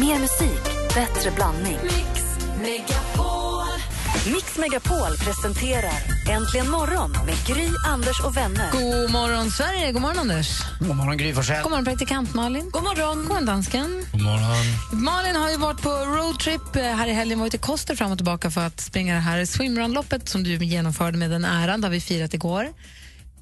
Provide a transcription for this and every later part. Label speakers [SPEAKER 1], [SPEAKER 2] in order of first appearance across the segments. [SPEAKER 1] Mer musik, bättre blandning.
[SPEAKER 2] Mix Megapol.
[SPEAKER 1] Mix Megapol presenterar Äntligen morgon med Gry, Anders och vänner.
[SPEAKER 3] God morgon, Sverige. God morgon, Anders.
[SPEAKER 4] God morgon, Gry Forssell.
[SPEAKER 3] God morgon, praktikant Malin. God morgon. God morgon, dansken.
[SPEAKER 4] God morgon.
[SPEAKER 3] Malin har ju varit på roadtrip eh, här i helgen, varit i Koster fram och tillbaka för att springa det här swimrunloppet som du genomförde med den äran, där vi firat igår.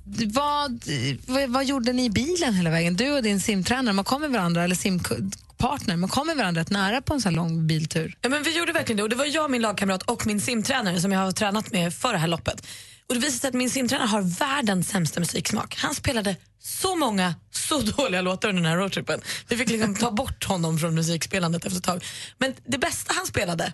[SPEAKER 3] D- Vad, vad, vad gjorde ni i bilen hela vägen? Du och din simtränare, man kommer varandra, eller simpartner, man kommer varandra rätt nära på en sån här lång biltur.
[SPEAKER 5] Ja, men vi gjorde verkligen det. Och det var jag, min lagkamrat och min simtränare som jag har tränat med för det här loppet. Och det visade sig att min simtränare har världens sämsta musiksmak. Han spelade så många, så dåliga låtar under den här roadtrippen. Vi fick liksom ta bort honom från musikspelandet efter ett tag. Men det bästa han spelade,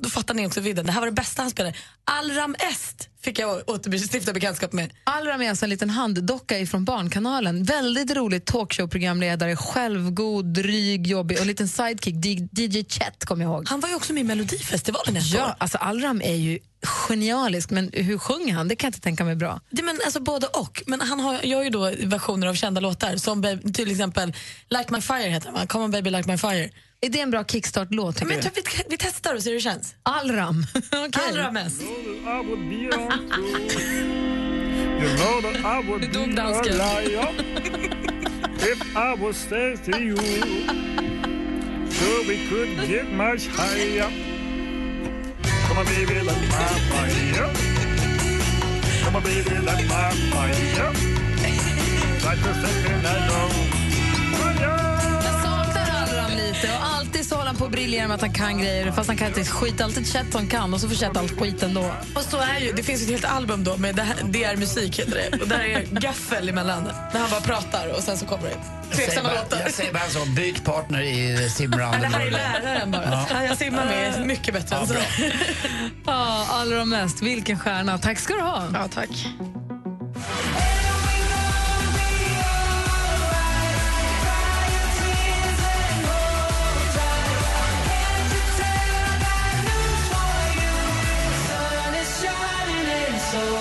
[SPEAKER 5] då fattar ni också vidden, det här var det bästa han spelade. Alram Est fick jag återstifta bekantskap med.
[SPEAKER 3] Allra med alltså en liten handdocka ifrån Barnkanalen. Väldigt rolig talkshow-programledare, självgod, dryg, jobbig och en liten sidekick, D- DJ Chet, kommer jag ihåg.
[SPEAKER 5] Han var ju också med i Melodifestivalen ett år.
[SPEAKER 3] Ja, alltså Allram är ju genialisk, men hur sjunger han? Det kan jag inte tänka mig bra.
[SPEAKER 5] Det, men alltså både och. Men han har, gör ju då versioner av kända låtar som be- till exempel Like My Fire heter den va? Come on baby like my fire.
[SPEAKER 3] Är det en bra kickstart-låt tycker
[SPEAKER 5] Men jag
[SPEAKER 3] du?
[SPEAKER 5] tror vi, vi testar och ser hur det känns.
[SPEAKER 3] Allram. Okej.
[SPEAKER 5] Allra mest.
[SPEAKER 6] I would be on tour. You know that I would
[SPEAKER 3] dog
[SPEAKER 6] be
[SPEAKER 3] dansken.
[SPEAKER 6] a liar if I was stay to you. So we could get much higher. Come on, baby, like my fire. Come on, baby, like my fire. Like the second I know. Fire!
[SPEAKER 3] Jag saknar Allram lite och alltid så håller han på och briljerar med att han kan grejer fast han kan inte skit. Alltid Chet som kan och så får Chet allt skit ändå.
[SPEAKER 5] Och så är ju, det finns ju ett helt album då med det här, DR Musik heter det. Och där är gaffel emellan. När han bara pratar och sen så kommer det
[SPEAKER 4] Jag säger
[SPEAKER 5] tveksamma
[SPEAKER 4] bara-
[SPEAKER 5] låtar.
[SPEAKER 4] Jag säger bara så, byt partner i simrun.
[SPEAKER 5] Det här är läraren bara. Ja. Jag simmar med mycket bättre än så.
[SPEAKER 3] Ja, Allram mest. Vilken stjärna. Tack ska du ha.
[SPEAKER 5] Ja, tack.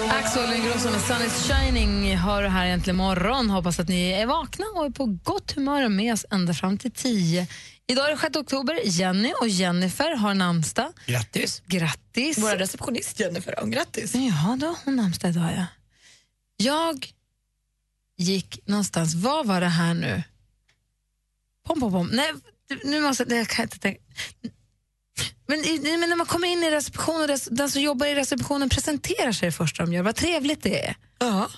[SPEAKER 3] Axel Ingrosso med Sun is shining hör du här egentligen morgon. Hoppas att ni är vakna och är på gott humör och med oss ända fram till 10. Idag är det 6 oktober. Jenny och Jennifer har namnsdag.
[SPEAKER 4] Grattis.
[SPEAKER 3] Grattis!
[SPEAKER 5] Vår receptionist Jennifer, ja, grattis.
[SPEAKER 3] Ja, då har hon namnsdag idag. Ja. Jag gick någonstans, vad var det här nu? Pom, pom, pom. Nej, nu måste nej, jag kan inte tänka. Men, i- nej, men när man kommer in i receptionen, rece- den som jobbar i receptionen presenterar sig det första de gör. Vad trevligt det är.
[SPEAKER 5] Ja.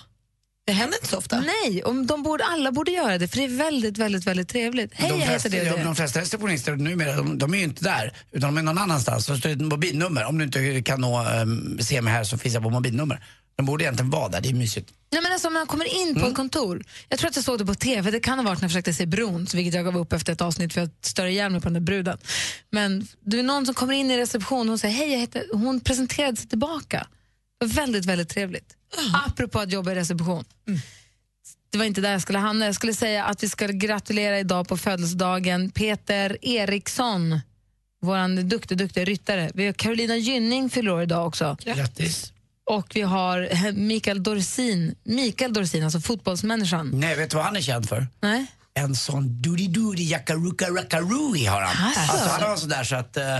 [SPEAKER 5] Det händer inte så ofta.
[SPEAKER 3] Nej, om de borde, alla borde göra det för det är väldigt, väldigt, väldigt trevligt. Hej,
[SPEAKER 4] de
[SPEAKER 3] jag
[SPEAKER 4] flesta,
[SPEAKER 3] heter det och
[SPEAKER 4] ja,
[SPEAKER 3] det.
[SPEAKER 4] de flesta receptionister numera, de, de är ju inte där, utan de är någon annanstans. Så står det ett mobilnummer. Om du inte kan nå, um, se mig här så finns jag på mobilnummer. De borde egentligen vara där, det är mysigt.
[SPEAKER 3] Nej, men alltså, om man kommer in på ett kontor. Jag tror att jag såg det på tv. Det kan ha varit när jag försökte se Bron, vilket jag gav upp efter ett avsnitt för jag större ihjäl mig på den där bruden. Men det är någon som kommer in i receptionen och säger hej, jag heter... hon presenterade sig tillbaka. Det var väldigt, väldigt trevligt. Apropå att jobba i reception. Det var inte där jag skulle hamna. Jag skulle säga att vi ska gratulera idag på födelsedagen Peter Eriksson, vår duktig, duktig ryttare. Vi har Carolina Gynning fyller år idag också.
[SPEAKER 4] Grattis.
[SPEAKER 3] Och vi har eh, Mikael Dorsin, Mikael Dorsin alltså fotbollsmänniskan.
[SPEAKER 4] Nej, vet du vad han är känd för?
[SPEAKER 3] Nej?
[SPEAKER 4] en sån doody-doody jackaruka rackarui har han.
[SPEAKER 3] Asså.
[SPEAKER 4] Alltså. han har en sån där så att eh,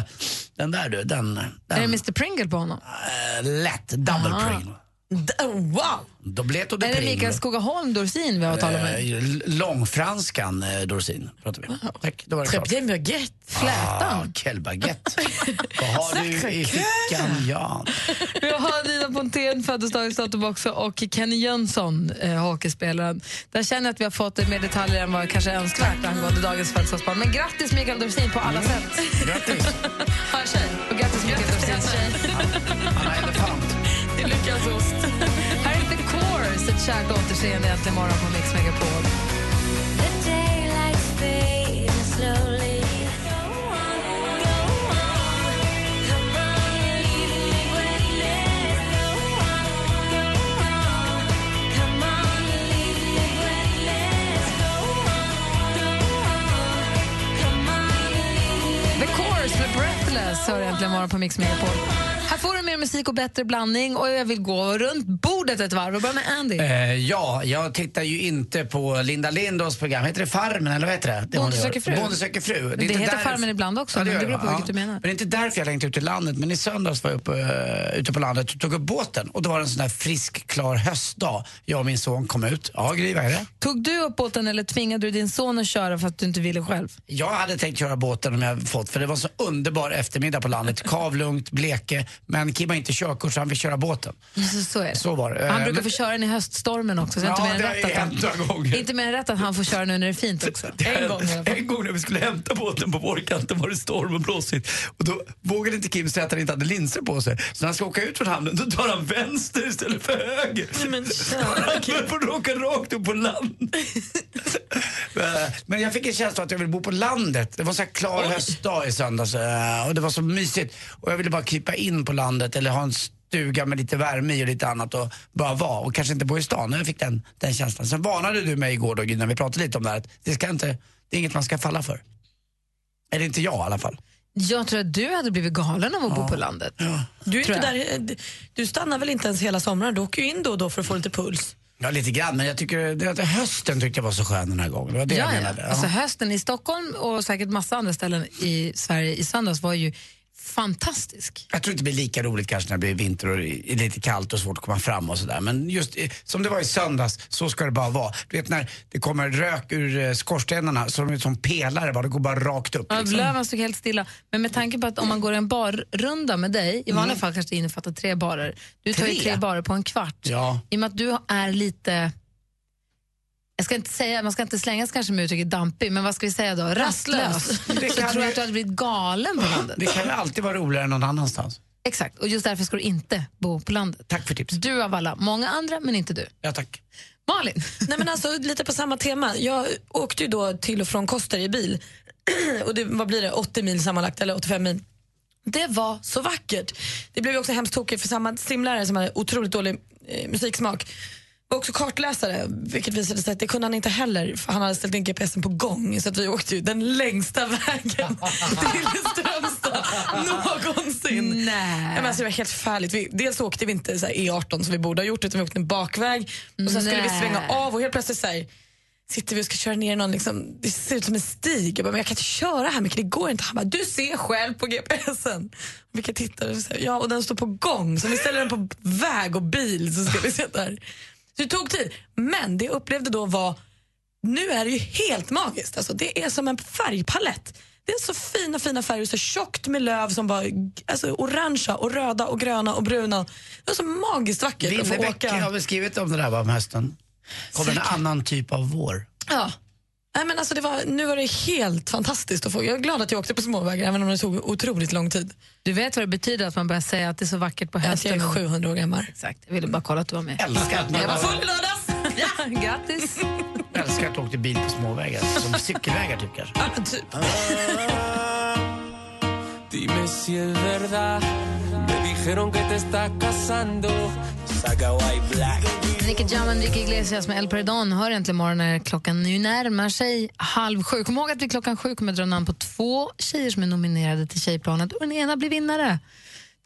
[SPEAKER 4] den där du, den,
[SPEAKER 3] Är det
[SPEAKER 4] den
[SPEAKER 3] Mr Pringle på honom?
[SPEAKER 4] eh, lätt double pring.
[SPEAKER 5] D- Wow!
[SPEAKER 4] Dobletto de
[SPEAKER 3] Är det
[SPEAKER 4] pring.
[SPEAKER 3] Mikael Skogaholm Dorsin vi har talat
[SPEAKER 4] Eh,
[SPEAKER 3] med?
[SPEAKER 4] l- Långfranskan eh, Dorsin pratar vi. Tack, då var det klart.
[SPEAKER 5] Très bien baguette.
[SPEAKER 4] Ah,
[SPEAKER 3] Flätan.
[SPEAKER 4] Kelbaguette. Vad har du i fickan? Ja.
[SPEAKER 3] Vi har Nina Pontén, födelsedagsdatum också, och Kenny Jönsson, eh, hockeyspelaren. Där känner jag att vi har fått eh, mer detaljer än vad kanske är önskvärt angående dagens födelsedagsbarn. Men grattis Mikael Dorsin på alla sätt.
[SPEAKER 4] Grattis.
[SPEAKER 3] Ha tjej. Och grattis Mikael Dorsins tjej.
[SPEAKER 4] Han har elefant.
[SPEAKER 3] Det lyckas ost. Här är The Course, ett kärt återseende egentligen imorgon på Mix Megapol. The Course med Breathless hör äntligen morgon på Mix Megapol. Här får du mer musik och bättre blandning och jag vill gå runt bordet ett varv och börja med Andy.
[SPEAKER 4] Eh, ja, jag tittar ju inte på Linda Lindos program. Heter det Farmen eller vad heter det? det hon
[SPEAKER 3] Bonde
[SPEAKER 4] gör.
[SPEAKER 3] söker fru.
[SPEAKER 4] Bonde söker fru.
[SPEAKER 3] det
[SPEAKER 4] inte
[SPEAKER 3] heter Farmen ibland också, men
[SPEAKER 4] gör
[SPEAKER 3] det beror på
[SPEAKER 4] va?
[SPEAKER 3] vilket du menar.
[SPEAKER 4] Men det är inte därför jag längtar ut i landet. Men i söndags var jag uppe, eh, ute på landet och tog upp båten. Och då var det en sån där frisk, klar höstdag. Jag och min son kom ut. Ja, Gry, vad är det?
[SPEAKER 3] Tog du upp båten eller tvingade du din son att köra för att du inte ville själv?
[SPEAKER 4] Jag hade tänkt köra båten om jag hade fått, för det var så underbar eftermiddag på landet. Kavlugnt, Bleke, men Kim har inte körkort så han vill köra båten.
[SPEAKER 3] Så, så är det.
[SPEAKER 4] Så var det.
[SPEAKER 3] Han
[SPEAKER 4] Eh,
[SPEAKER 3] brukar
[SPEAKER 4] men-
[SPEAKER 3] få köra den i höststormen också. Så det är
[SPEAKER 4] Ja,
[SPEAKER 3] inte
[SPEAKER 4] det
[SPEAKER 3] mer
[SPEAKER 4] har
[SPEAKER 3] än rätt
[SPEAKER 4] ju
[SPEAKER 3] att han,
[SPEAKER 4] hänt några gånger.
[SPEAKER 3] inte mer än rätt att han får köra nu när det är fint också.
[SPEAKER 7] Det
[SPEAKER 3] En
[SPEAKER 7] hände-
[SPEAKER 3] gång i alla fall.
[SPEAKER 7] en gång när vi skulle hämta båten på vårkanten var det storm och blåsigt. Och då vågade inte Kim säga att han inte hade linser på sig. Så när han ska åka ut från hamnen då tar han vänster istället för höger.
[SPEAKER 5] Men
[SPEAKER 7] Han får åka rakt upp på land.
[SPEAKER 4] Eh, Men jag fick en känsla av att jag ville bo på landet. Det var så här klar höstdag i söndags eh, och det var så mysigt. Och jag ville bara krypa in på landet eller ha en stuga med lite värme i och lite annat och bara vara och kanske inte bo i stan. Jag fick den, den känslan. Sen varnade du mig igår då Gry, när vi pratade lite om det här att det, ska inte, det är inget man ska falla för. Eller inte jag i alla fall.
[SPEAKER 3] Jag tror att du hade blivit galen av att bo på landet.
[SPEAKER 5] Du, är inte
[SPEAKER 3] Tror jag.
[SPEAKER 5] där, du stannar väl inte ens hela sommaren? Du åker ju in då och då för att få lite puls.
[SPEAKER 4] Ja lite grann men jag tycker det, att hösten tyckte jag var så skön den här gången. Det var det jag
[SPEAKER 3] Ja,
[SPEAKER 4] menade.
[SPEAKER 3] ja.
[SPEAKER 4] Ja.
[SPEAKER 3] Alltså, hösten i Stockholm och säkert massa andra ställen i Sverige i söndags var ju fantastisk.
[SPEAKER 4] Jag tror inte det blir lika roligt kanske när det blir vinter och det är lite kallt och svårt att komma fram och sådär. Men just eh, som det var i söndags, så ska det bara vara. Du vet när det kommer rök ur eh, skorstenarna så de är som pelare bara, det går bara rakt upp.
[SPEAKER 3] Ja,
[SPEAKER 4] Liksom.
[SPEAKER 3] Löven stod helt stilla. Men med tanke på att om man går en barrunda med dig, i vanliga fall kanske det innefattar tre barer. Du tar ju
[SPEAKER 4] Tre?
[SPEAKER 3] tre barer på en kvart.
[SPEAKER 4] Ja.
[SPEAKER 3] I och med att du är lite... Jag ska inte säga, man ska inte slängas kanske med uttrycket dampig, men vad ska vi säga då? Rastlös.
[SPEAKER 4] Det
[SPEAKER 3] Så
[SPEAKER 4] kan
[SPEAKER 3] tror jag
[SPEAKER 4] ju-
[SPEAKER 3] att du hade blivit galen på landet.
[SPEAKER 4] Det kan ju alltid vara roligare än någon annanstans.
[SPEAKER 3] Exakt, och just därför ska du inte bo på landet.
[SPEAKER 4] Tack för tips.
[SPEAKER 3] Du av alla, många andra, men inte du.
[SPEAKER 4] Ja, tack.
[SPEAKER 3] Malin,
[SPEAKER 5] Nej men alltså lite på samma tema. Jag åkte ju då till och från Koster i bil. och det, vad blir det, 80 mil sammanlagt eller 85 mil. Det var så vackert. Det blev ju också hemskt tokigt för samma simlärare som hade otroligt dålig eh, musiksmak var också kartläsare, vilket visade sig att det kunde han inte heller för han hade ställt in GPSen på gång så att vi åkte ju den längsta vägen till Strömstad någonsin.
[SPEAKER 3] Nej.
[SPEAKER 5] Ja, men alltså, det var helt färligt. Vi, dels åkte vi inte så här E18 som vi borde ha gjort utan vi åkte en bakväg och sen skulle vi
[SPEAKER 3] Nej.
[SPEAKER 5] svänga av och helt plötsligt så här, sitter vi och ska köra ner någon, liksom, det ser ut som en stig. Jag bara, men jag kan inte köra här mycket, det går inte. Han bara, du ser själv på GPSen. Vilka tittar och säger, ja och den står på gång. Så om vi ställer den på väg och bil så ska vi sitta här. Så det tog tid. Men det jag upplevde då var, nu är det ju helt magiskt. Alltså, det är som en färgpalett. Det är så fina fina färger, så tjockt med löv som bara, alltså orangea och röda och gröna och bruna. Det var så magiskt vackert att få
[SPEAKER 4] Winnerbäck
[SPEAKER 5] åka.
[SPEAKER 4] har väl skrivit om det där va, om hösten. Kommer en annan typ av vår.
[SPEAKER 5] Ja. Nej, men alltså det var, nu var det helt fantastiskt att få. Jag är glad att jag åkte på småvägar även om det tog otroligt lång tid.
[SPEAKER 3] du vet vad det betyder att man börjar säga att det är så vackert på
[SPEAKER 5] Att jag
[SPEAKER 3] hösten.
[SPEAKER 5] är 700 år gammal.
[SPEAKER 3] Exakt, jag ville bara kolla att du var med.
[SPEAKER 4] Älskar att, man,
[SPEAKER 5] Jag var full i lördags!
[SPEAKER 3] Ja, grattis!
[SPEAKER 4] älskar att du åkte bil på småvägar. Som cykelvägar typ kanske.
[SPEAKER 5] Ja, men typ.
[SPEAKER 8] Dime si es verdad, me dijeron que te estás casando. Saga White Black.
[SPEAKER 3] Nicky Jam och Enrique Iglesias med El Perdón hör äntligen morgon när klockan nu närmar sig halv sju. Kom ihåg att vi klockan sju kommer dra namn på två tjejer som är nominerade till Tjejplanet och den ena blir vinnare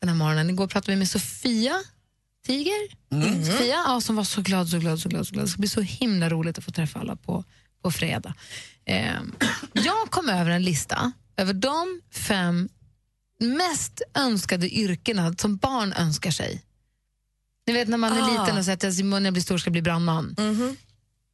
[SPEAKER 3] den här morgonen. Igår pratade vi med Sofia Tiger. Sofia, ja, som var så glad, så glad, så glad, så glad. Det ska bli så himla roligt att få träffa alla på, på fredag. Ehm, jag kom över en lista över de fem mest önskade yrkena som barn önskar sig. Ni vet när man är liten och säger att jag, när jag blir stor ska jag bli brandman.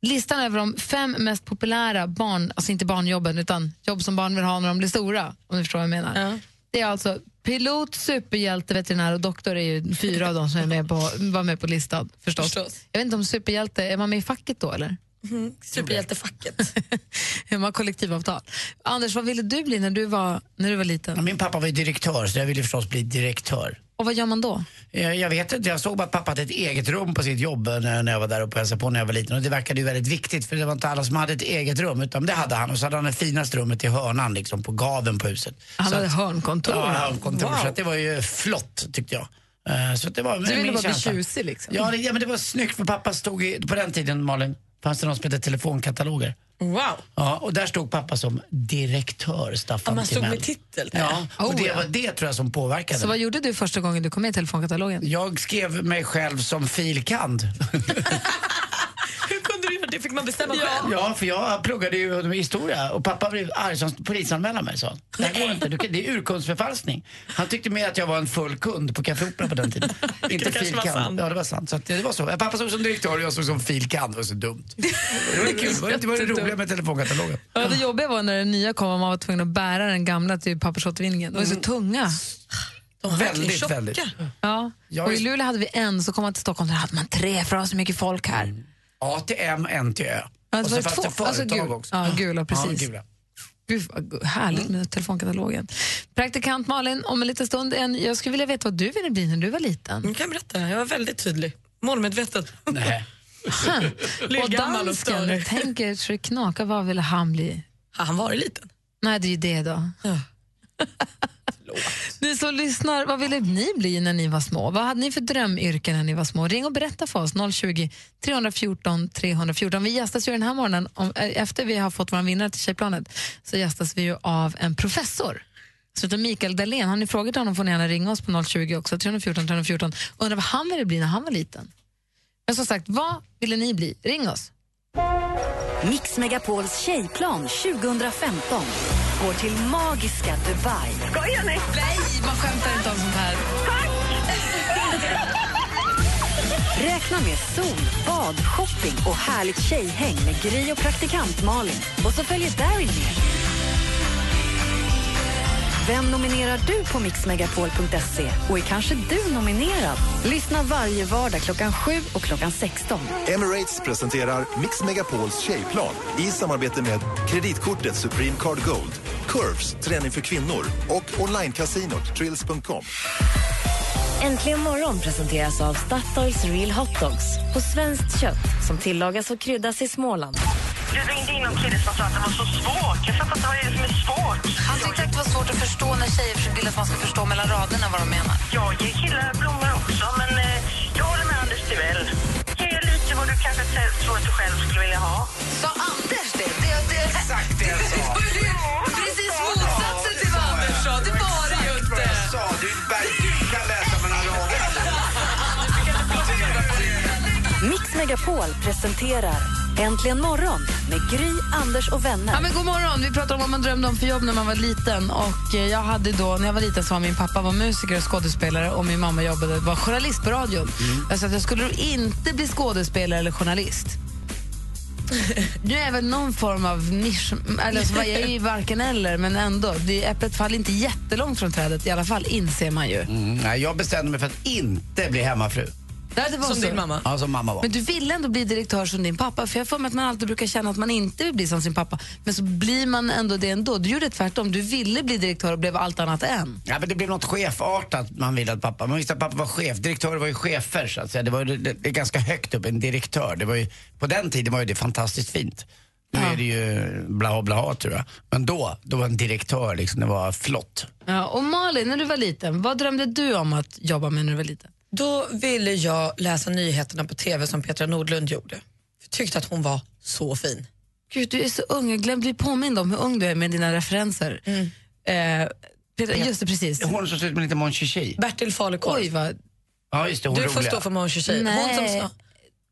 [SPEAKER 3] Listan över de fem mest populära barn, alltså inte barnjobben, utan jobb som barn vill ha när de blir stora, om ni förstår vad jag menar. Det är alltså pilot, superhjälte, veterinär och doktor är ju fyra av de som är med på, var med på listan förstås.
[SPEAKER 5] Förstås.
[SPEAKER 3] Jag vet inte om superhjälte, är man med i facket då eller?
[SPEAKER 5] Superhjältefacket.
[SPEAKER 3] är man kollektivavtal? Anders, vad ville du bli när du var, när du var
[SPEAKER 4] Ja,
[SPEAKER 3] liten?
[SPEAKER 4] Min pappa var ju direktör så jag ville förstås bli direktör.
[SPEAKER 3] Och vad gör man då?
[SPEAKER 4] Eh, Jag, jag vet inte, jag såg bara att pappa hade ett eget rum på sitt jobb eh, när, när jag var där uppe och hälsade på när jag var liten. Och det verkade ju väldigt viktigt för det var inte alla som hade ett eget rum utan det hade han. Och så hade han det finaste rummet i hörnan liksom på gaven på huset.
[SPEAKER 3] Han
[SPEAKER 4] så
[SPEAKER 3] hade
[SPEAKER 4] att,
[SPEAKER 3] hörnkontor.
[SPEAKER 4] ja, hörnkontor.
[SPEAKER 3] Ah, Wow.
[SPEAKER 4] Så att det var ju flott tyckte jag. Eh, Så att det var
[SPEAKER 3] Du ville bara bli tjusig liksom?
[SPEAKER 4] Ja, det, ja, men det var snyggt för pappa stod i, på den tiden Malin, fanns det någon som hette telefonkataloger?
[SPEAKER 5] Wow.
[SPEAKER 4] Ja, och där stod pappa som direktör, Staffan
[SPEAKER 5] Ja, man stod
[SPEAKER 4] Timell.
[SPEAKER 5] med titel där.
[SPEAKER 4] Ja, och
[SPEAKER 3] Oh,
[SPEAKER 4] det
[SPEAKER 3] ja.
[SPEAKER 4] var det tror jag som påverkade.
[SPEAKER 3] Så vad gjorde du första gången du kom med i telefonkatalogen?
[SPEAKER 4] Jag skrev mig själv som filkand.
[SPEAKER 5] Hur kunde du göra det? Fick man bestämma själv?
[SPEAKER 4] Ja, för jag pluggade ju historia och pappa blev arg som polisanmälan mig sa han. Det här går inte, du, kan- det är urkundsförfalskning. Han tyckte mer att jag var en full kund på Café Opera på den tiden. inte
[SPEAKER 5] kanske var sant.
[SPEAKER 4] filkand. Ja, det var sant. Så att, ja, det var så. Pappa såg som direktör och jag såg som filkand. Det var så dumt. Det var kul. Det var- Det var det roliga med telefonkatalogen.
[SPEAKER 3] Ja, det jobbiga var när den nya kom och man var tvungen att bära den gamla till pappersåtervinningen. De var så tunga.
[SPEAKER 4] Väldigt, väldigt.
[SPEAKER 3] Ja.
[SPEAKER 4] Jag
[SPEAKER 3] Och i
[SPEAKER 4] är-
[SPEAKER 3] Luleå hade vi en, så kom man till Stockholm där hade man tre för det var så mycket folk här.
[SPEAKER 4] A till M, N till Ö.
[SPEAKER 3] Ja, det
[SPEAKER 4] och
[SPEAKER 3] var
[SPEAKER 4] så fanns
[SPEAKER 3] två.
[SPEAKER 4] det
[SPEAKER 3] Alltså,
[SPEAKER 4] företag
[SPEAKER 3] gul.
[SPEAKER 4] också.
[SPEAKER 3] Ja, gula, precis.
[SPEAKER 4] Ja, gula.
[SPEAKER 3] Gud, vad gu- härligt med telefonkatalogen. Praktikant Malin, om en liten stund, en, jag skulle vilja veta vad du ville bli när du var liten.
[SPEAKER 5] Nu kan jag berätta. Jag var väldigt tydlig. Målmedveten.
[SPEAKER 4] Nej.
[SPEAKER 3] Och
[SPEAKER 5] gammal och
[SPEAKER 3] dansken
[SPEAKER 5] störig.
[SPEAKER 3] tänker så det knakar, vad ville han bli?
[SPEAKER 5] Har han varit liten?
[SPEAKER 3] Nej, det är ju det då. ni som lyssnar, vad ville ni bli när ni var små? Vad hade ni för drömyrken när ni var små? Ring och berätta för oss, 020 314 314. Vi gästas ju den här morgonen, om, eh, efter vi har fått vår vinnare till Tjejplanet, så gästas vi ju av en professor. Så utan Mikael Dahlén, har ni frågat honom får ni gärna ringa oss på 020 också, 314 314. Undrar vad han ville bli när han var liten? Men som sagt, vad ville ni bli? Ring oss.
[SPEAKER 1] Mix Megapols tjejplan 2015 går till magiska Dubai.
[SPEAKER 3] Man skämtar inte om sånt här.
[SPEAKER 1] Räkna med sol, bad, shopping och härligt tjejhäng med Gry och praktikant Malin. Och så följer Daryl med. Vem nominerar du på mixmegapol.se? Och är kanske du nominerad? Lyssna varje vardag klockan 7 och klockan 16.
[SPEAKER 9] Emirates presenterar Mix Megapols tjejplan i samarbete med kreditkortet Supreme Card Gold, Curves, träning för kvinnor och onlinecasinot Trills.com.
[SPEAKER 2] Äntligen morgon presenteras av Statoils Real Hot Dogs på svenskt kött som tillagas och kryddas i Småland.
[SPEAKER 10] Du ringde in om killen som sa att det var så svårt. Jag fattar inte vad det är som är svårt.
[SPEAKER 3] Han tyckte att det var svårt att förstå när tjejer vill att man ska förstå mellan raderna vad de menar.
[SPEAKER 10] Jag ger killar blommor också, men eh, jag håller med Anders Timell. Ge lite vad du kanske t- tror att du själv skulle vilja ha.
[SPEAKER 3] Sa Anders det? det, det Exakt det jag sa. Precis motsatsen till vad Anders sa. Det var det ju inte.
[SPEAKER 7] sa, du, du kan läsa mellan raderna.
[SPEAKER 1] Mix Megapol presenterar Äntligen morgon med Gry, Anders och vänner.
[SPEAKER 3] Ja, men god morgon. Vi pratar om vad man drömde om för jobb när man var liten. Och eh, jag hade då, när jag var liten så var min pappa var musiker och skådespelare och min mamma jobbade, var journalist på radion. Jag sa att jag skulle då inte bli skådespelare eller journalist. Nu är väl någon form av nisch, eller så var jag är ju varken eller, men ändå. Det, äpplet faller inte jättelångt från trädet i alla fall, inser man ju.
[SPEAKER 4] Mm, nej, jag bestämde mig för att inte bli hemmafru.
[SPEAKER 3] Där det var
[SPEAKER 5] Som
[SPEAKER 3] så.
[SPEAKER 5] din mamma.
[SPEAKER 4] Ja, som mamma var.
[SPEAKER 3] Men du ville ändå bli direktör som din pappa, för jag har för mig att man alltid brukar känna att man inte vill bli som sin pappa, men så blir man ändå det ändå. Du gjorde tvärtom, du ville bli direktör och blev allt annat än.
[SPEAKER 4] Ja, men det blev något chefartat man ville att pappa... Man visste att pappa var chef. Direktörer var ju chefer så att säga. Det var ju det, det är ganska högt upp, en direktör. Det var ju, på den tiden var ju det fantastiskt fint. Nu är det ju blaha blaha tror jag. Men då, då var en direktör liksom, det var flott.
[SPEAKER 3] Ja, och Malin, när du var liten, vad drömde du om att jobba med när du var liten?
[SPEAKER 5] Då ville jag läsa nyheterna på tv som Petra Nordlund gjorde. Jag tyckte att hon var så fin.
[SPEAKER 3] Gud, du är så ung. Jag glömde bli påmind om hur ung du är med dina referenser. Eh, Peter, just det, precis.
[SPEAKER 4] Hon som ser ut med lite Mon Chichi.
[SPEAKER 5] Bertil Falukorv.
[SPEAKER 3] Oj, vad...
[SPEAKER 4] Ja, just det, hon
[SPEAKER 5] du
[SPEAKER 4] roliga.
[SPEAKER 5] får stå för Måns Tjej. Hon som
[SPEAKER 3] Nej.
[SPEAKER 5] sa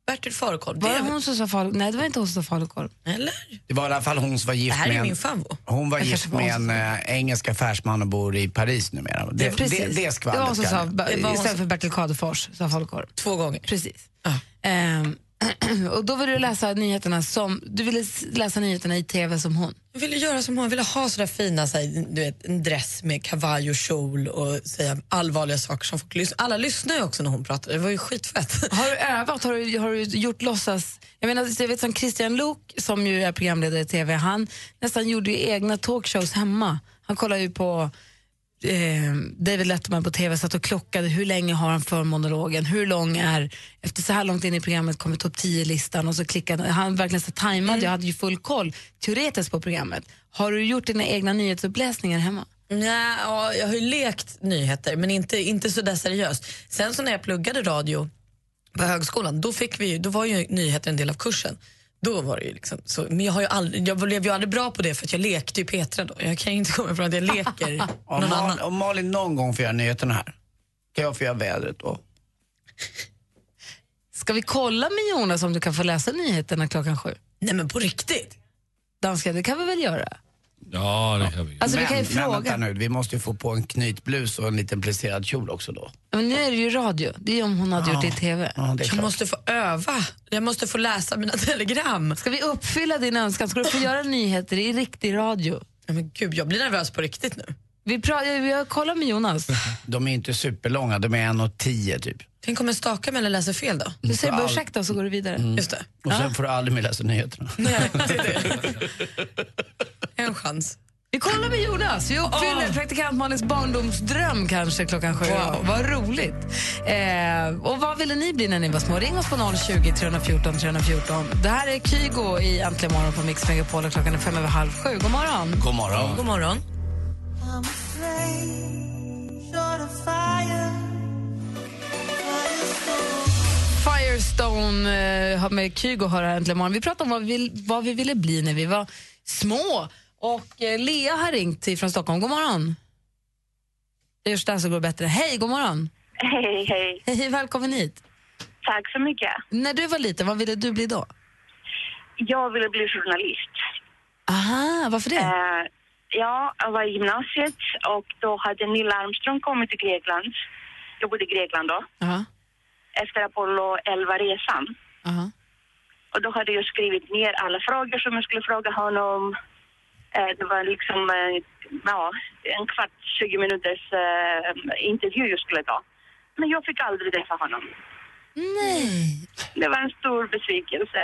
[SPEAKER 5] Bertil Falukorv. Det
[SPEAKER 3] Var det
[SPEAKER 5] är
[SPEAKER 3] hon som sa falukorv? Nej, det var inte hon som sa falukorv.
[SPEAKER 5] väl- Eller?
[SPEAKER 4] Det var i alla fall hon som var
[SPEAKER 5] Det
[SPEAKER 4] gift
[SPEAKER 5] här är
[SPEAKER 4] med
[SPEAKER 5] ju
[SPEAKER 4] en,
[SPEAKER 5] min favvo.
[SPEAKER 4] Hon var
[SPEAKER 3] Jag
[SPEAKER 4] gift
[SPEAKER 3] kanske var
[SPEAKER 4] med
[SPEAKER 3] hon
[SPEAKER 4] en eh, engelsk affärsman och bor i Paris numera. Det, det,
[SPEAKER 3] Precis.
[SPEAKER 4] det, det
[SPEAKER 3] det var hon
[SPEAKER 4] skvallret
[SPEAKER 3] som sa,
[SPEAKER 4] kan jag.
[SPEAKER 3] ba-
[SPEAKER 5] Det var hon
[SPEAKER 3] istället
[SPEAKER 5] som-
[SPEAKER 3] för Bertil Kadefors, sa falukorv.
[SPEAKER 5] Två gånger.
[SPEAKER 3] Precis.
[SPEAKER 5] Ja.
[SPEAKER 3] Ehm, och då vill du läsa nyheterna som, du ville s- läsa nyheterna i tv som hon.
[SPEAKER 5] Jag ville göra som hon, jag ville ha sådär fina, så här, du vet, en dress med kavaj och kjol och säga allvarliga saker som folk lyssnar. Alla lyssnar ju också när hon pratar, det var ju skitfett.
[SPEAKER 3] Har du övat? Har du, har du gjort låtsas? Jag menar, jag vet som Christian Lok som ju är programledare i tv, han nästan gjorde ju egna talkshows hemma. Han kollade ju på eh, David Letterman på tv, satt och klockade hur länge har han för monologen, hur lång är, efter så här långt in i programmet kommer topp 10-listan och så klickade han, han verkligen så tajmade, jag hade ju full koll teoretiskt på programmet. Har du gjort dina egna nyhetsuppläsningar hemma?
[SPEAKER 5] Nej, ja, jag har ju lekt nyheter, men inte, inte så där seriöst. Sen så när jag pluggade radio på högskolan, då, fick vi, ju- då var ju nyheter en del av kursen. Då var det ju liksom så, men jag, har ju aldrig, jag blev ju aldrig bra på det för att jag lekte ju Petra då. Jag kan ju inte komma ifrån att jag leker
[SPEAKER 4] Om,
[SPEAKER 5] någon annan.
[SPEAKER 4] Mal, om Malin någon gång får göra nyheterna här, kan jag få göra vädret då?
[SPEAKER 3] Ska vi kolla med Jonas om du kan få läsa nyheterna klockan sju?
[SPEAKER 5] Nej men på riktigt.
[SPEAKER 3] Danska, det kan vi väl göra?
[SPEAKER 11] Ja, det kan vi.
[SPEAKER 3] Alltså, vi kan ju fråga.
[SPEAKER 4] Men vänta nu, vi måste ju få på en knytblus och en liten plisserad kjol också då.
[SPEAKER 3] Men nu är det ju radio. Det är ju om hon hade gjort det i TV.
[SPEAKER 4] Ja, det är
[SPEAKER 5] Jag
[SPEAKER 4] klart.
[SPEAKER 5] måste få öva. Jag måste få läsa mina telegram.
[SPEAKER 3] Ska vi uppfylla din önskan? Ska du få göra nyheter i riktig radio?
[SPEAKER 5] Ja, men gud, jag blir nervös på riktigt nu.
[SPEAKER 3] Vi pratar, jag kollar med Jonas.
[SPEAKER 4] De är inte superlånga, de är 1,10 typ.
[SPEAKER 5] Tänk om jag stakar mig eller läser fel då?
[SPEAKER 3] Du säger bara ursäkta och så går du vidare.
[SPEAKER 4] Mm.
[SPEAKER 5] Just det.
[SPEAKER 4] Och sen får du aldrig mer läsa nyheterna.
[SPEAKER 5] Nej, det är det. En chans.
[SPEAKER 3] Vi kollar med Jonas. Vi uppfyller
[SPEAKER 5] Åh.
[SPEAKER 3] praktikant Malins barndomsdröm kanske klockan sju.
[SPEAKER 5] Wow.
[SPEAKER 3] Vad roligt. Eh, och vad ville ni bli när ni var små? Ring oss på 020 314 314. Det här är Kygo i Äntligen morgon på Mix Megapol och klockan är fem över halv sju. God morgon.
[SPEAKER 4] God morgon.
[SPEAKER 5] God morgon.
[SPEAKER 3] Firestone eh, har med Kygo har här äntligen morgon. Vi pratade om vad vi, vill- vad vi ville bli när vi var små. Och eh, Lea har ringt till från Stockholm. God morgon. Det görs där så går det bättre. Hej, god morgon.
[SPEAKER 10] Hej, hej.
[SPEAKER 3] Hej, välkommen hit.
[SPEAKER 10] Tack så mycket.
[SPEAKER 3] När du var liten, vad ville du bli då?
[SPEAKER 10] Jag ville bli journalist.
[SPEAKER 3] Aha, varför det?
[SPEAKER 10] Eh, ja, jag var i gymnasiet och då hade Neil Armstrong kommit till Grekland. Jag bodde i Grekland då,
[SPEAKER 3] Aha,
[SPEAKER 10] efter Apollo 11-resan.
[SPEAKER 3] aha.
[SPEAKER 10] Och då hade jag skrivit ner alla frågor som jag skulle fråga honom. Eh, Det var liksom eh, ja, en kvart, 20 minuters eh, intervju jag skulle ta. Men jag fick aldrig träffa honom.
[SPEAKER 3] Nej.
[SPEAKER 10] Det var en stor besvikelse.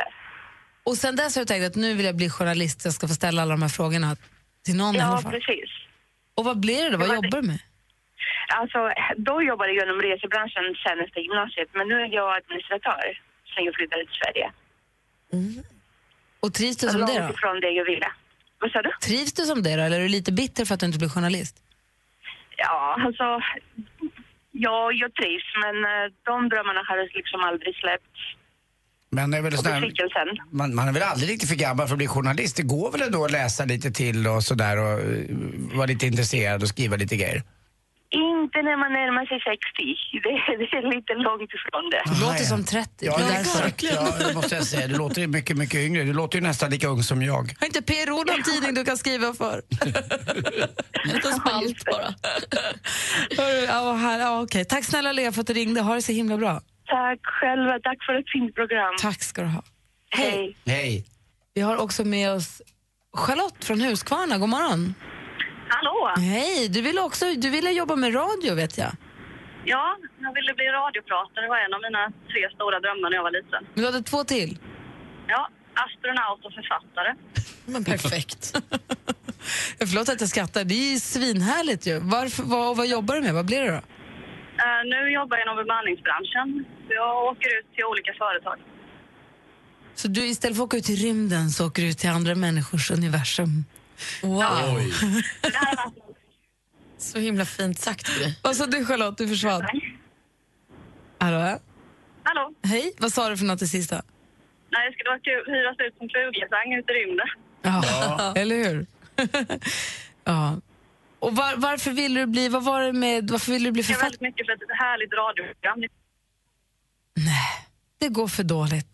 [SPEAKER 3] Och sen dess har du tänkt att nu vill jag bli journalist, jag ska få ställa alla de här frågorna till någon i alla
[SPEAKER 10] Ja,
[SPEAKER 3] fall.
[SPEAKER 10] precis.
[SPEAKER 3] Och vad blir det då? Vad
[SPEAKER 10] Det var det.
[SPEAKER 3] jobbar du med?
[SPEAKER 10] Alltså, då jobbade jag inom resebranschen sen efter gymnasiet, men nu är jag administratör sen jag flyttade till Sverige. Alltså,
[SPEAKER 3] Och trivs du som det
[SPEAKER 10] Långt
[SPEAKER 3] då?
[SPEAKER 10] ifrån det jag ville. Vad sa du?
[SPEAKER 3] Trivs du som det då, eller är du lite bitter för att du inte blir journalist?
[SPEAKER 10] Ja, alltså... Ja, jag trivs, men eh, de drömmarna har liksom aldrig släppt.
[SPEAKER 4] Men det är väl
[SPEAKER 10] Och
[SPEAKER 4] sån här,
[SPEAKER 10] besvikelsen.
[SPEAKER 4] man, man är väl aldrig riktigt för gammal för att bli journalist. Det går väl ändå att läsa lite till och sådär och eh, vara lite intresserad och skriva lite grejer.
[SPEAKER 10] Inte när man närmar sig 60. Det, är- det är lite långt ifrån det.
[SPEAKER 3] Du låter
[SPEAKER 4] ja.
[SPEAKER 3] som 30.
[SPEAKER 4] Ja,
[SPEAKER 3] det är
[SPEAKER 4] det,
[SPEAKER 3] därför.
[SPEAKER 4] ja, det måste jag säga. Du låter ju mycket, mycket yngre. Du låter ju nästan lika ung som jag.
[SPEAKER 3] Har inte PRO någon tidning du kan skriva för?
[SPEAKER 5] En liten spalt bara.
[SPEAKER 3] Hörru, ja, vad här, ja, okej. Tack snälla Lea för att du ringde. Ha det så himla bra.
[SPEAKER 10] Tack själva. Tack för ett fint program.
[SPEAKER 3] Tack ska du ha.
[SPEAKER 10] Hej.
[SPEAKER 4] Hej.
[SPEAKER 3] Vi har också med oss Charlotte från Huskvarna. God morgon.
[SPEAKER 10] Hallå!
[SPEAKER 3] Hej, du ville också du ville jobba med radio vet jag.
[SPEAKER 10] Ja, jag ville bli radiopratare. Det var en av mina tre stora drömmar när jag var liten.
[SPEAKER 3] Men du hade två till.
[SPEAKER 10] Ja, astronaut och författare.
[SPEAKER 5] Men perfekt.
[SPEAKER 3] Förlåt att jag skrattar, det är ju svinhärligt ju. Varför, vad, vad jobbar du med? Vad blir det då?
[SPEAKER 10] Eh, nu jobbar jag inom bemanningsbranschen. Jag åker ut till olika företag.
[SPEAKER 3] Så du istället för att åka ut i rymden så åker du ut till andra människors universum.
[SPEAKER 5] Wow.
[SPEAKER 10] Det här var...
[SPEAKER 5] Så himla fint sagt för dig.
[SPEAKER 3] Vad sa du Charlotte, du försvann? Hallå?
[SPEAKER 10] Hallå?
[SPEAKER 3] Hej, vad sa du för något i sista?
[SPEAKER 10] Nej, jag skulle åka hyras ut som flugesang ut i rymden.
[SPEAKER 3] Ja, eller hur? ja. Och var, varför ville du bli, vad var det med, varför ville du bli
[SPEAKER 10] Jag är
[SPEAKER 3] författare?
[SPEAKER 10] väldigt mycket för ett härligt radioprogram.
[SPEAKER 3] Det går för dåligt.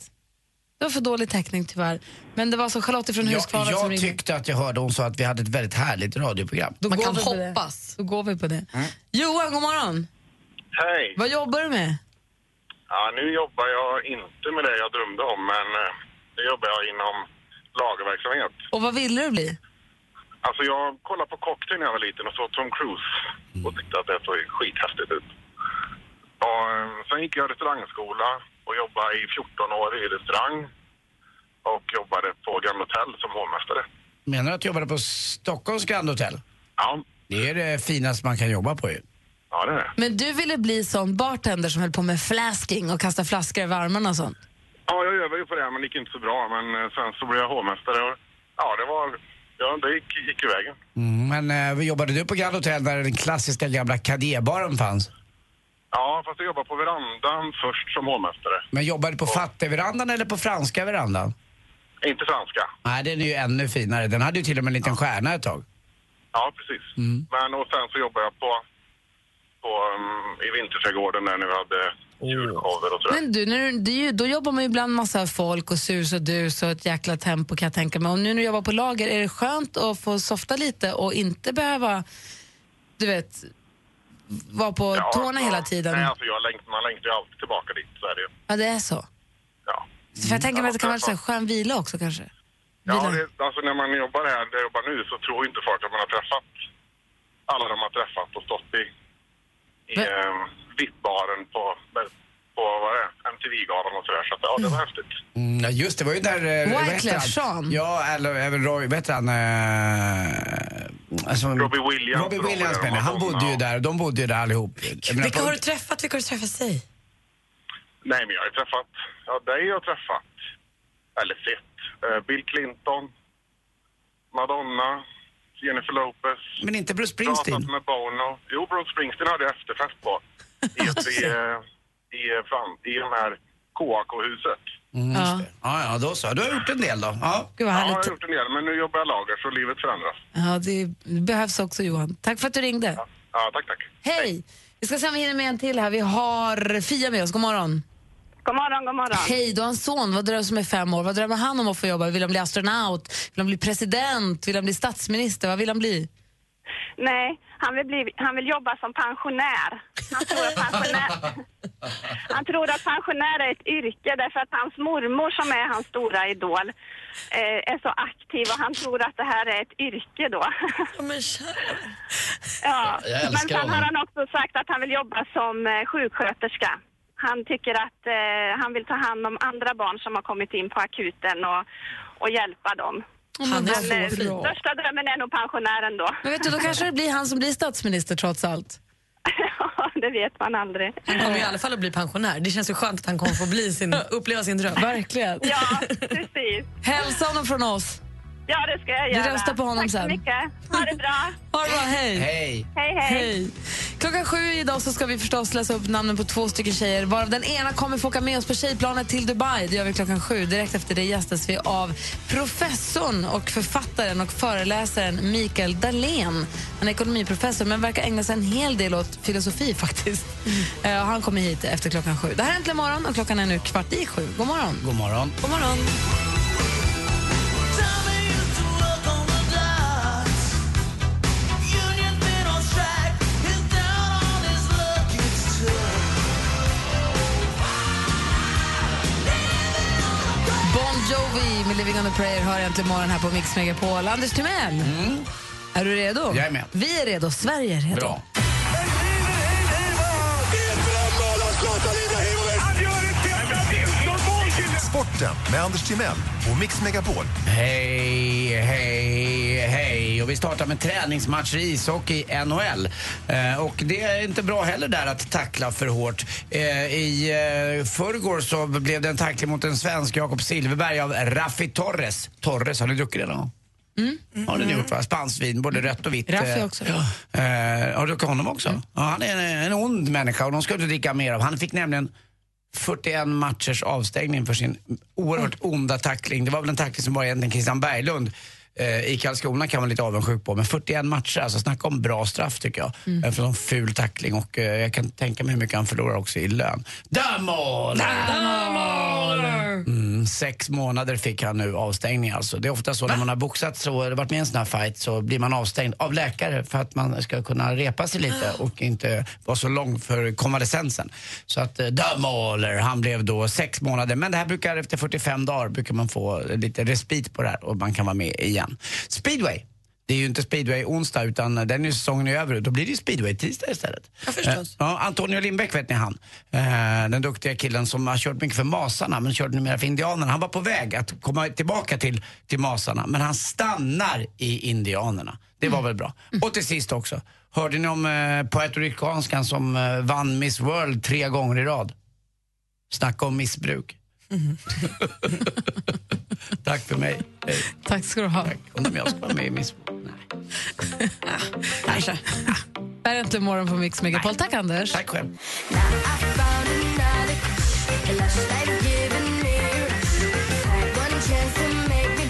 [SPEAKER 3] Det var för dålig täckning tyvärr. Men det var så Charlotte från
[SPEAKER 4] Jag,
[SPEAKER 3] Huskvarna som
[SPEAKER 4] jag
[SPEAKER 3] ringde.
[SPEAKER 4] tyckte att jag hörde hon sa att vi hade ett väldigt härligt radioprogram.
[SPEAKER 3] Då
[SPEAKER 5] Man
[SPEAKER 3] går
[SPEAKER 5] kan
[SPEAKER 3] vi på det.
[SPEAKER 5] hoppas.
[SPEAKER 3] Då går vi på det. Johan, god morgon.
[SPEAKER 6] Hej.
[SPEAKER 3] Vad jobbar du med?
[SPEAKER 6] Ja, nu jobbar jag inte med det jag drömde om, men eh, nu jobbar jag inom lagerverksamhet.
[SPEAKER 3] Och vad ville du bli?
[SPEAKER 6] Alltså jag kollade på Cocktail när jag var liten och såg Tom Cruise
[SPEAKER 3] Mm.
[SPEAKER 6] och tyckte att det såg skithäftigt ut. Och eh, sen gick jag restaurangskola och jobbade i 14 år i restaurang och jobbade på Grand Hotel som hovmästare.
[SPEAKER 4] Menar du att du jobbade på Stockholms Grand Hotel?
[SPEAKER 6] Ja,
[SPEAKER 4] Det är det finaste man kan jobba på ju.
[SPEAKER 6] ja det är det.
[SPEAKER 3] Men du ville bli sån bartender som höll på med flasking och kasta flaskor över armarna och sånt.
[SPEAKER 6] Ja, jag övade ju på det här men det gick inte så bra. Men eh, sen så blev jag hovmästare och ja, det var... Ja, det gick, gick i vägen.
[SPEAKER 4] Mm, men eh, jobbade du på Grand Hotel där den klassiska gamla kadébaren fanns?
[SPEAKER 6] Ja, fast jag jobbade på verandan först som hovmästare.
[SPEAKER 4] Men jobbade du på fattigverandan eller på franska verandan?
[SPEAKER 11] Inte franska.
[SPEAKER 4] Nej, den är ju ännu finare. Den hade ju till och med en liten stjärna ett tag.
[SPEAKER 11] Ja, precis.
[SPEAKER 3] Mm.
[SPEAKER 11] Men och sen så jobbade jag på, på um,
[SPEAKER 6] ehm,
[SPEAKER 11] i vinterträdgården när vi hade julshower och sådär.
[SPEAKER 3] Men du, när du, det är ju, då jobbar man ju bland massa folk och sus och dus och ett jäkla tempo kan jag tänka mig. Och nu när du jobbar på lager, är det skönt att få softa lite och inte behöva, du vet, vara på
[SPEAKER 11] Ja,
[SPEAKER 3] tårna
[SPEAKER 11] ja.
[SPEAKER 3] hela tiden?
[SPEAKER 11] Nej, alltså jag längt, man längtar ju alltid tillbaka dit, så är det ju.
[SPEAKER 3] Ja, det är så.
[SPEAKER 11] Ja.
[SPEAKER 3] Så får jag tänka mig att det kan vara lite så här
[SPEAKER 11] träffa-
[SPEAKER 3] skön vila också kanske?
[SPEAKER 11] Ja, det, alltså när man jobbar här, där jag jobbar nu, så tror inte folk att man har träffat alla de har träffat och stått i, i eh, VIP-baren på, på vad är det, MTV-galan och sådär. Så att, ja, det var häftigt.
[SPEAKER 4] Mm, ja, just det, var ju där... eh, vad heter
[SPEAKER 3] Wyclef
[SPEAKER 4] han?
[SPEAKER 3] Jean.
[SPEAKER 4] Ja, eller även Roy, vad heter han? Eh, alltså,
[SPEAKER 11] Robbie Williams.
[SPEAKER 4] Robbie
[SPEAKER 11] och de
[SPEAKER 4] Williams
[SPEAKER 11] där,
[SPEAKER 4] menar jag. Han
[SPEAKER 11] Madonna
[SPEAKER 4] bodde ju
[SPEAKER 11] och-
[SPEAKER 4] där, de bodde ju där allihop. Jag menar,
[SPEAKER 5] Vilka
[SPEAKER 4] på-
[SPEAKER 5] har du träffat? Vilka har du träffat sig?
[SPEAKER 11] Nej, men jag har ju träffat, ja, dig har jag träffat, eller sett, eh, Bill Clinton, Madonna, Jennifer Lopez.
[SPEAKER 4] Men inte Bruce Springsteen?
[SPEAKER 11] Pratat med Bono. Jo, Bruce Springsteen hade jag efterfest på. I, i, eh, i, eh, fram, i de här KAK-huset.
[SPEAKER 4] Mm, just det. Ja, ja, då så. Du har gjort en del då. Ja.
[SPEAKER 3] Gud vad
[SPEAKER 11] Ja, jag
[SPEAKER 3] härligt.
[SPEAKER 11] har gjort en del, men nu jobbar jag lager så livet förändras.
[SPEAKER 3] Ja, det behövs också Johan. Tack för att du ringde.
[SPEAKER 11] Ja, tack, tack.
[SPEAKER 3] Hej! Vi ska se om vi hinner med en till här. Vi har Fia med oss. God morgon.
[SPEAKER 10] God morgon, god morgon.
[SPEAKER 3] Hej, du har en son vad drömmer som är fem år. Vad drömmer han om att få jobba? Vill han bli astronaut? Vill han bli president? Vill han bli statsminister? Vad vill han bli?
[SPEAKER 10] Nej, han vill, bli, han vill jobba som pensionär. Han tror, att pensionär. han tror att pensionär är ett yrke därför att hans mormor som är hans stora idol eh, är så aktiv och han tror att det här är ett yrke då.
[SPEAKER 5] men kära.
[SPEAKER 10] ja.
[SPEAKER 7] Jag älskar
[SPEAKER 10] Men sen har
[SPEAKER 7] honom.
[SPEAKER 10] han också sagt att han vill jobba som eh, sjuksköterska. Han tycker att eh, han vill ta hand om andra barn som har kommit in på akuten och, och hjälpa dem.
[SPEAKER 5] Han
[SPEAKER 10] Men eh,
[SPEAKER 5] är så fin.
[SPEAKER 10] största drömmen är nog pensionären då.
[SPEAKER 3] Men vet du, då kanske det blir han som blir statsminister trots allt.
[SPEAKER 10] Ja, det vet man aldrig.
[SPEAKER 5] Han kommer i alla fall att bli pensionär. Det känns ju skönt att han kommer få bli sin, uppleva sin dröm.
[SPEAKER 3] Verkligen.
[SPEAKER 10] Ja, precis.
[SPEAKER 3] Hälsa honom från oss.
[SPEAKER 10] Ja, det ska jag
[SPEAKER 3] Vi
[SPEAKER 10] göra.
[SPEAKER 3] röstar på honom
[SPEAKER 10] Tack
[SPEAKER 3] sen.
[SPEAKER 10] så mycket. Ha det bra.
[SPEAKER 3] Ha det bra, hej.
[SPEAKER 4] Hej.
[SPEAKER 10] Hej, hej.
[SPEAKER 3] Hej. Klockan sju idag så ska vi förstås läsa upp namnen på två stycken tjejer varav den ena kommer få åka med oss på tjejplanet till Dubai. Det gör vi klockan sju. Direkt efter det gästas vi av professorn och författaren och föreläsaren Mikael Dahlén. Han är ekonomiprofessor men verkar ägna sig en hel del åt filosofi faktiskt.
[SPEAKER 5] Mm.
[SPEAKER 3] Eh, och han kommer hit efter klockan sju. Det här är Äntligen morgon och klockan är nu kvart i sju. God morgon.
[SPEAKER 4] God morgon.
[SPEAKER 5] God morgon.
[SPEAKER 3] Bon Jovi med Living on a prayer hör äntligen morgon här på Mix Megapol. Anders Timell, är du redo?
[SPEAKER 4] Mm. Jag är med.
[SPEAKER 3] Vi är redo, Sverige är redo.
[SPEAKER 4] Bra.
[SPEAKER 9] Sporten med Anders Timell och Mix Megapol.
[SPEAKER 4] Hej, hej, hej. Och vi startar med träningsmatcher i ishockey i NHL. Eh, och det är inte bra heller där att tackla för hårt. Eh, I eh, förrgår så blev det en tackling mot en svensk, Jakob Silverberg, av Raffi Torres. Torres, har ni druckit det någon Mm. Har ni gjort va? Spanskt vin, både rött och vitt.
[SPEAKER 3] Raffi
[SPEAKER 4] Eh,
[SPEAKER 3] också.
[SPEAKER 4] Eh, har du druckit honom också? Ja, han är en, en ond människa och de ska inte dricka mer av. Han fick nämligen 41 matchers avstängning för sin oerhört onda tackling. Det var väl en tackling som bara egentligen Christian Berglund eh, i Karlskrona kan man lite avundsjuk på. Men 41 matcher, alltså snacka om bra straff tycker jag. Eh, för en ful tackling och eh, jag kan tänka mig hur mycket han förlorar också i lön. Damål! Mm, sex månader fick han nu avstängning alltså. Det är ofta så när man har boxat så, eller varit med i en sån här fight så blir man avstängd av läkare för att man ska kunna repa sig lite och inte vara så lång för konvalescensen. Så att eh, Dom Aller, han blev då sex månader. Men det här brukar, efter 45 dagar brukar man få lite respit på det här och man kan vara med igen. Speedway. Det är ju inte speedway onsdag utan den är ju säsongen är över. Då blir det ju speedway tisdag istället.
[SPEAKER 5] Ja, förstås.
[SPEAKER 4] Eh, Ja, Antonio Lindbäck vet ni han. Eh, den duktiga killen som har kört mycket för Masarna men körde numera för Indianerna. Han var på väg att komma tillbaka till, till Masarna men han stannar i Indianerna. Det var väl bra. Och till sist också, hörde ni om eh, puertoricanskan som eh, vann Miss World tre gånger i rad? Snacka om missbruk. Mm. Tack för mig. Hej.
[SPEAKER 3] Tack ska du ha.
[SPEAKER 4] Tack. Undrar om jag ska vara med i Miss World? Nej.
[SPEAKER 5] Kanske.
[SPEAKER 3] Det här är Äntligen morgon på Mix Megapol. Tack, Anders.
[SPEAKER 4] Tack själv.
[SPEAKER 2] Giving you one chance to make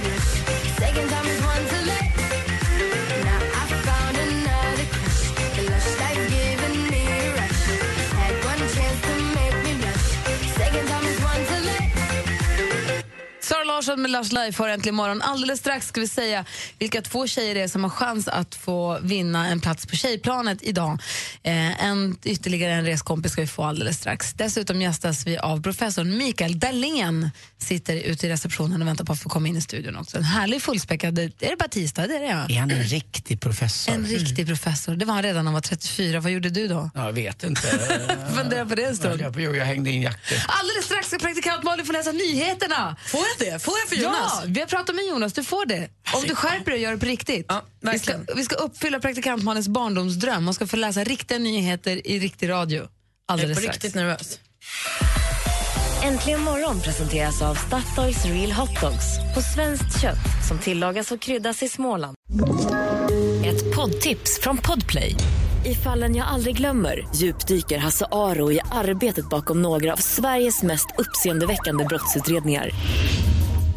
[SPEAKER 3] Larsson med Lars Live för Äntligen morgon. Alldeles strax ska vi säga vilka två tjejer det är som har chans att få vinna en plats på tjejplanet idag. Eh, en, ytterligare en reskompis ska vi få alldeles strax. Dessutom gästas vi av professorn Mikael Dahlén. Sitter ute i receptionen och väntar på att få komma in i studion också. En härlig fullspäckad... Är det bara tisdag? Det är det ja.
[SPEAKER 4] Är han en riktig professor?
[SPEAKER 3] En riktig professor. Det var han redan när han var 34. Vad gjorde du då?
[SPEAKER 4] Ja, jag vet inte.
[SPEAKER 3] Fundera på det en stund.
[SPEAKER 4] Jag, jo, jag hängde in jackor.
[SPEAKER 3] Alldeles strax ska praktikant Malin få läsa nyheterna.
[SPEAKER 5] Får jag det? Får jag för Jonas?
[SPEAKER 3] Ja, vi har pratat med Jonas. Du får det. Om du skärper dig och gör det på riktigt. vi, ska,
[SPEAKER 5] verkligen.
[SPEAKER 3] vi ska uppfylla praktikant Malins barndomsdröm. Hon ska få läsa riktiga nyheter i riktig radio.
[SPEAKER 5] Jag är
[SPEAKER 3] Alldeles
[SPEAKER 5] på
[SPEAKER 3] strax.
[SPEAKER 5] riktigt nervös.
[SPEAKER 2] Äntligen morgon presenteras av Statoils Real Hot Dogs på svenskt kött som tillagas och kryddas i Småland. Ett poddtips från Podplay. I fallen jag aldrig glömmer djupdyker Hasse Aro i arbetet bakom några av Sveriges mest uppseendeväckande brottsutredningar.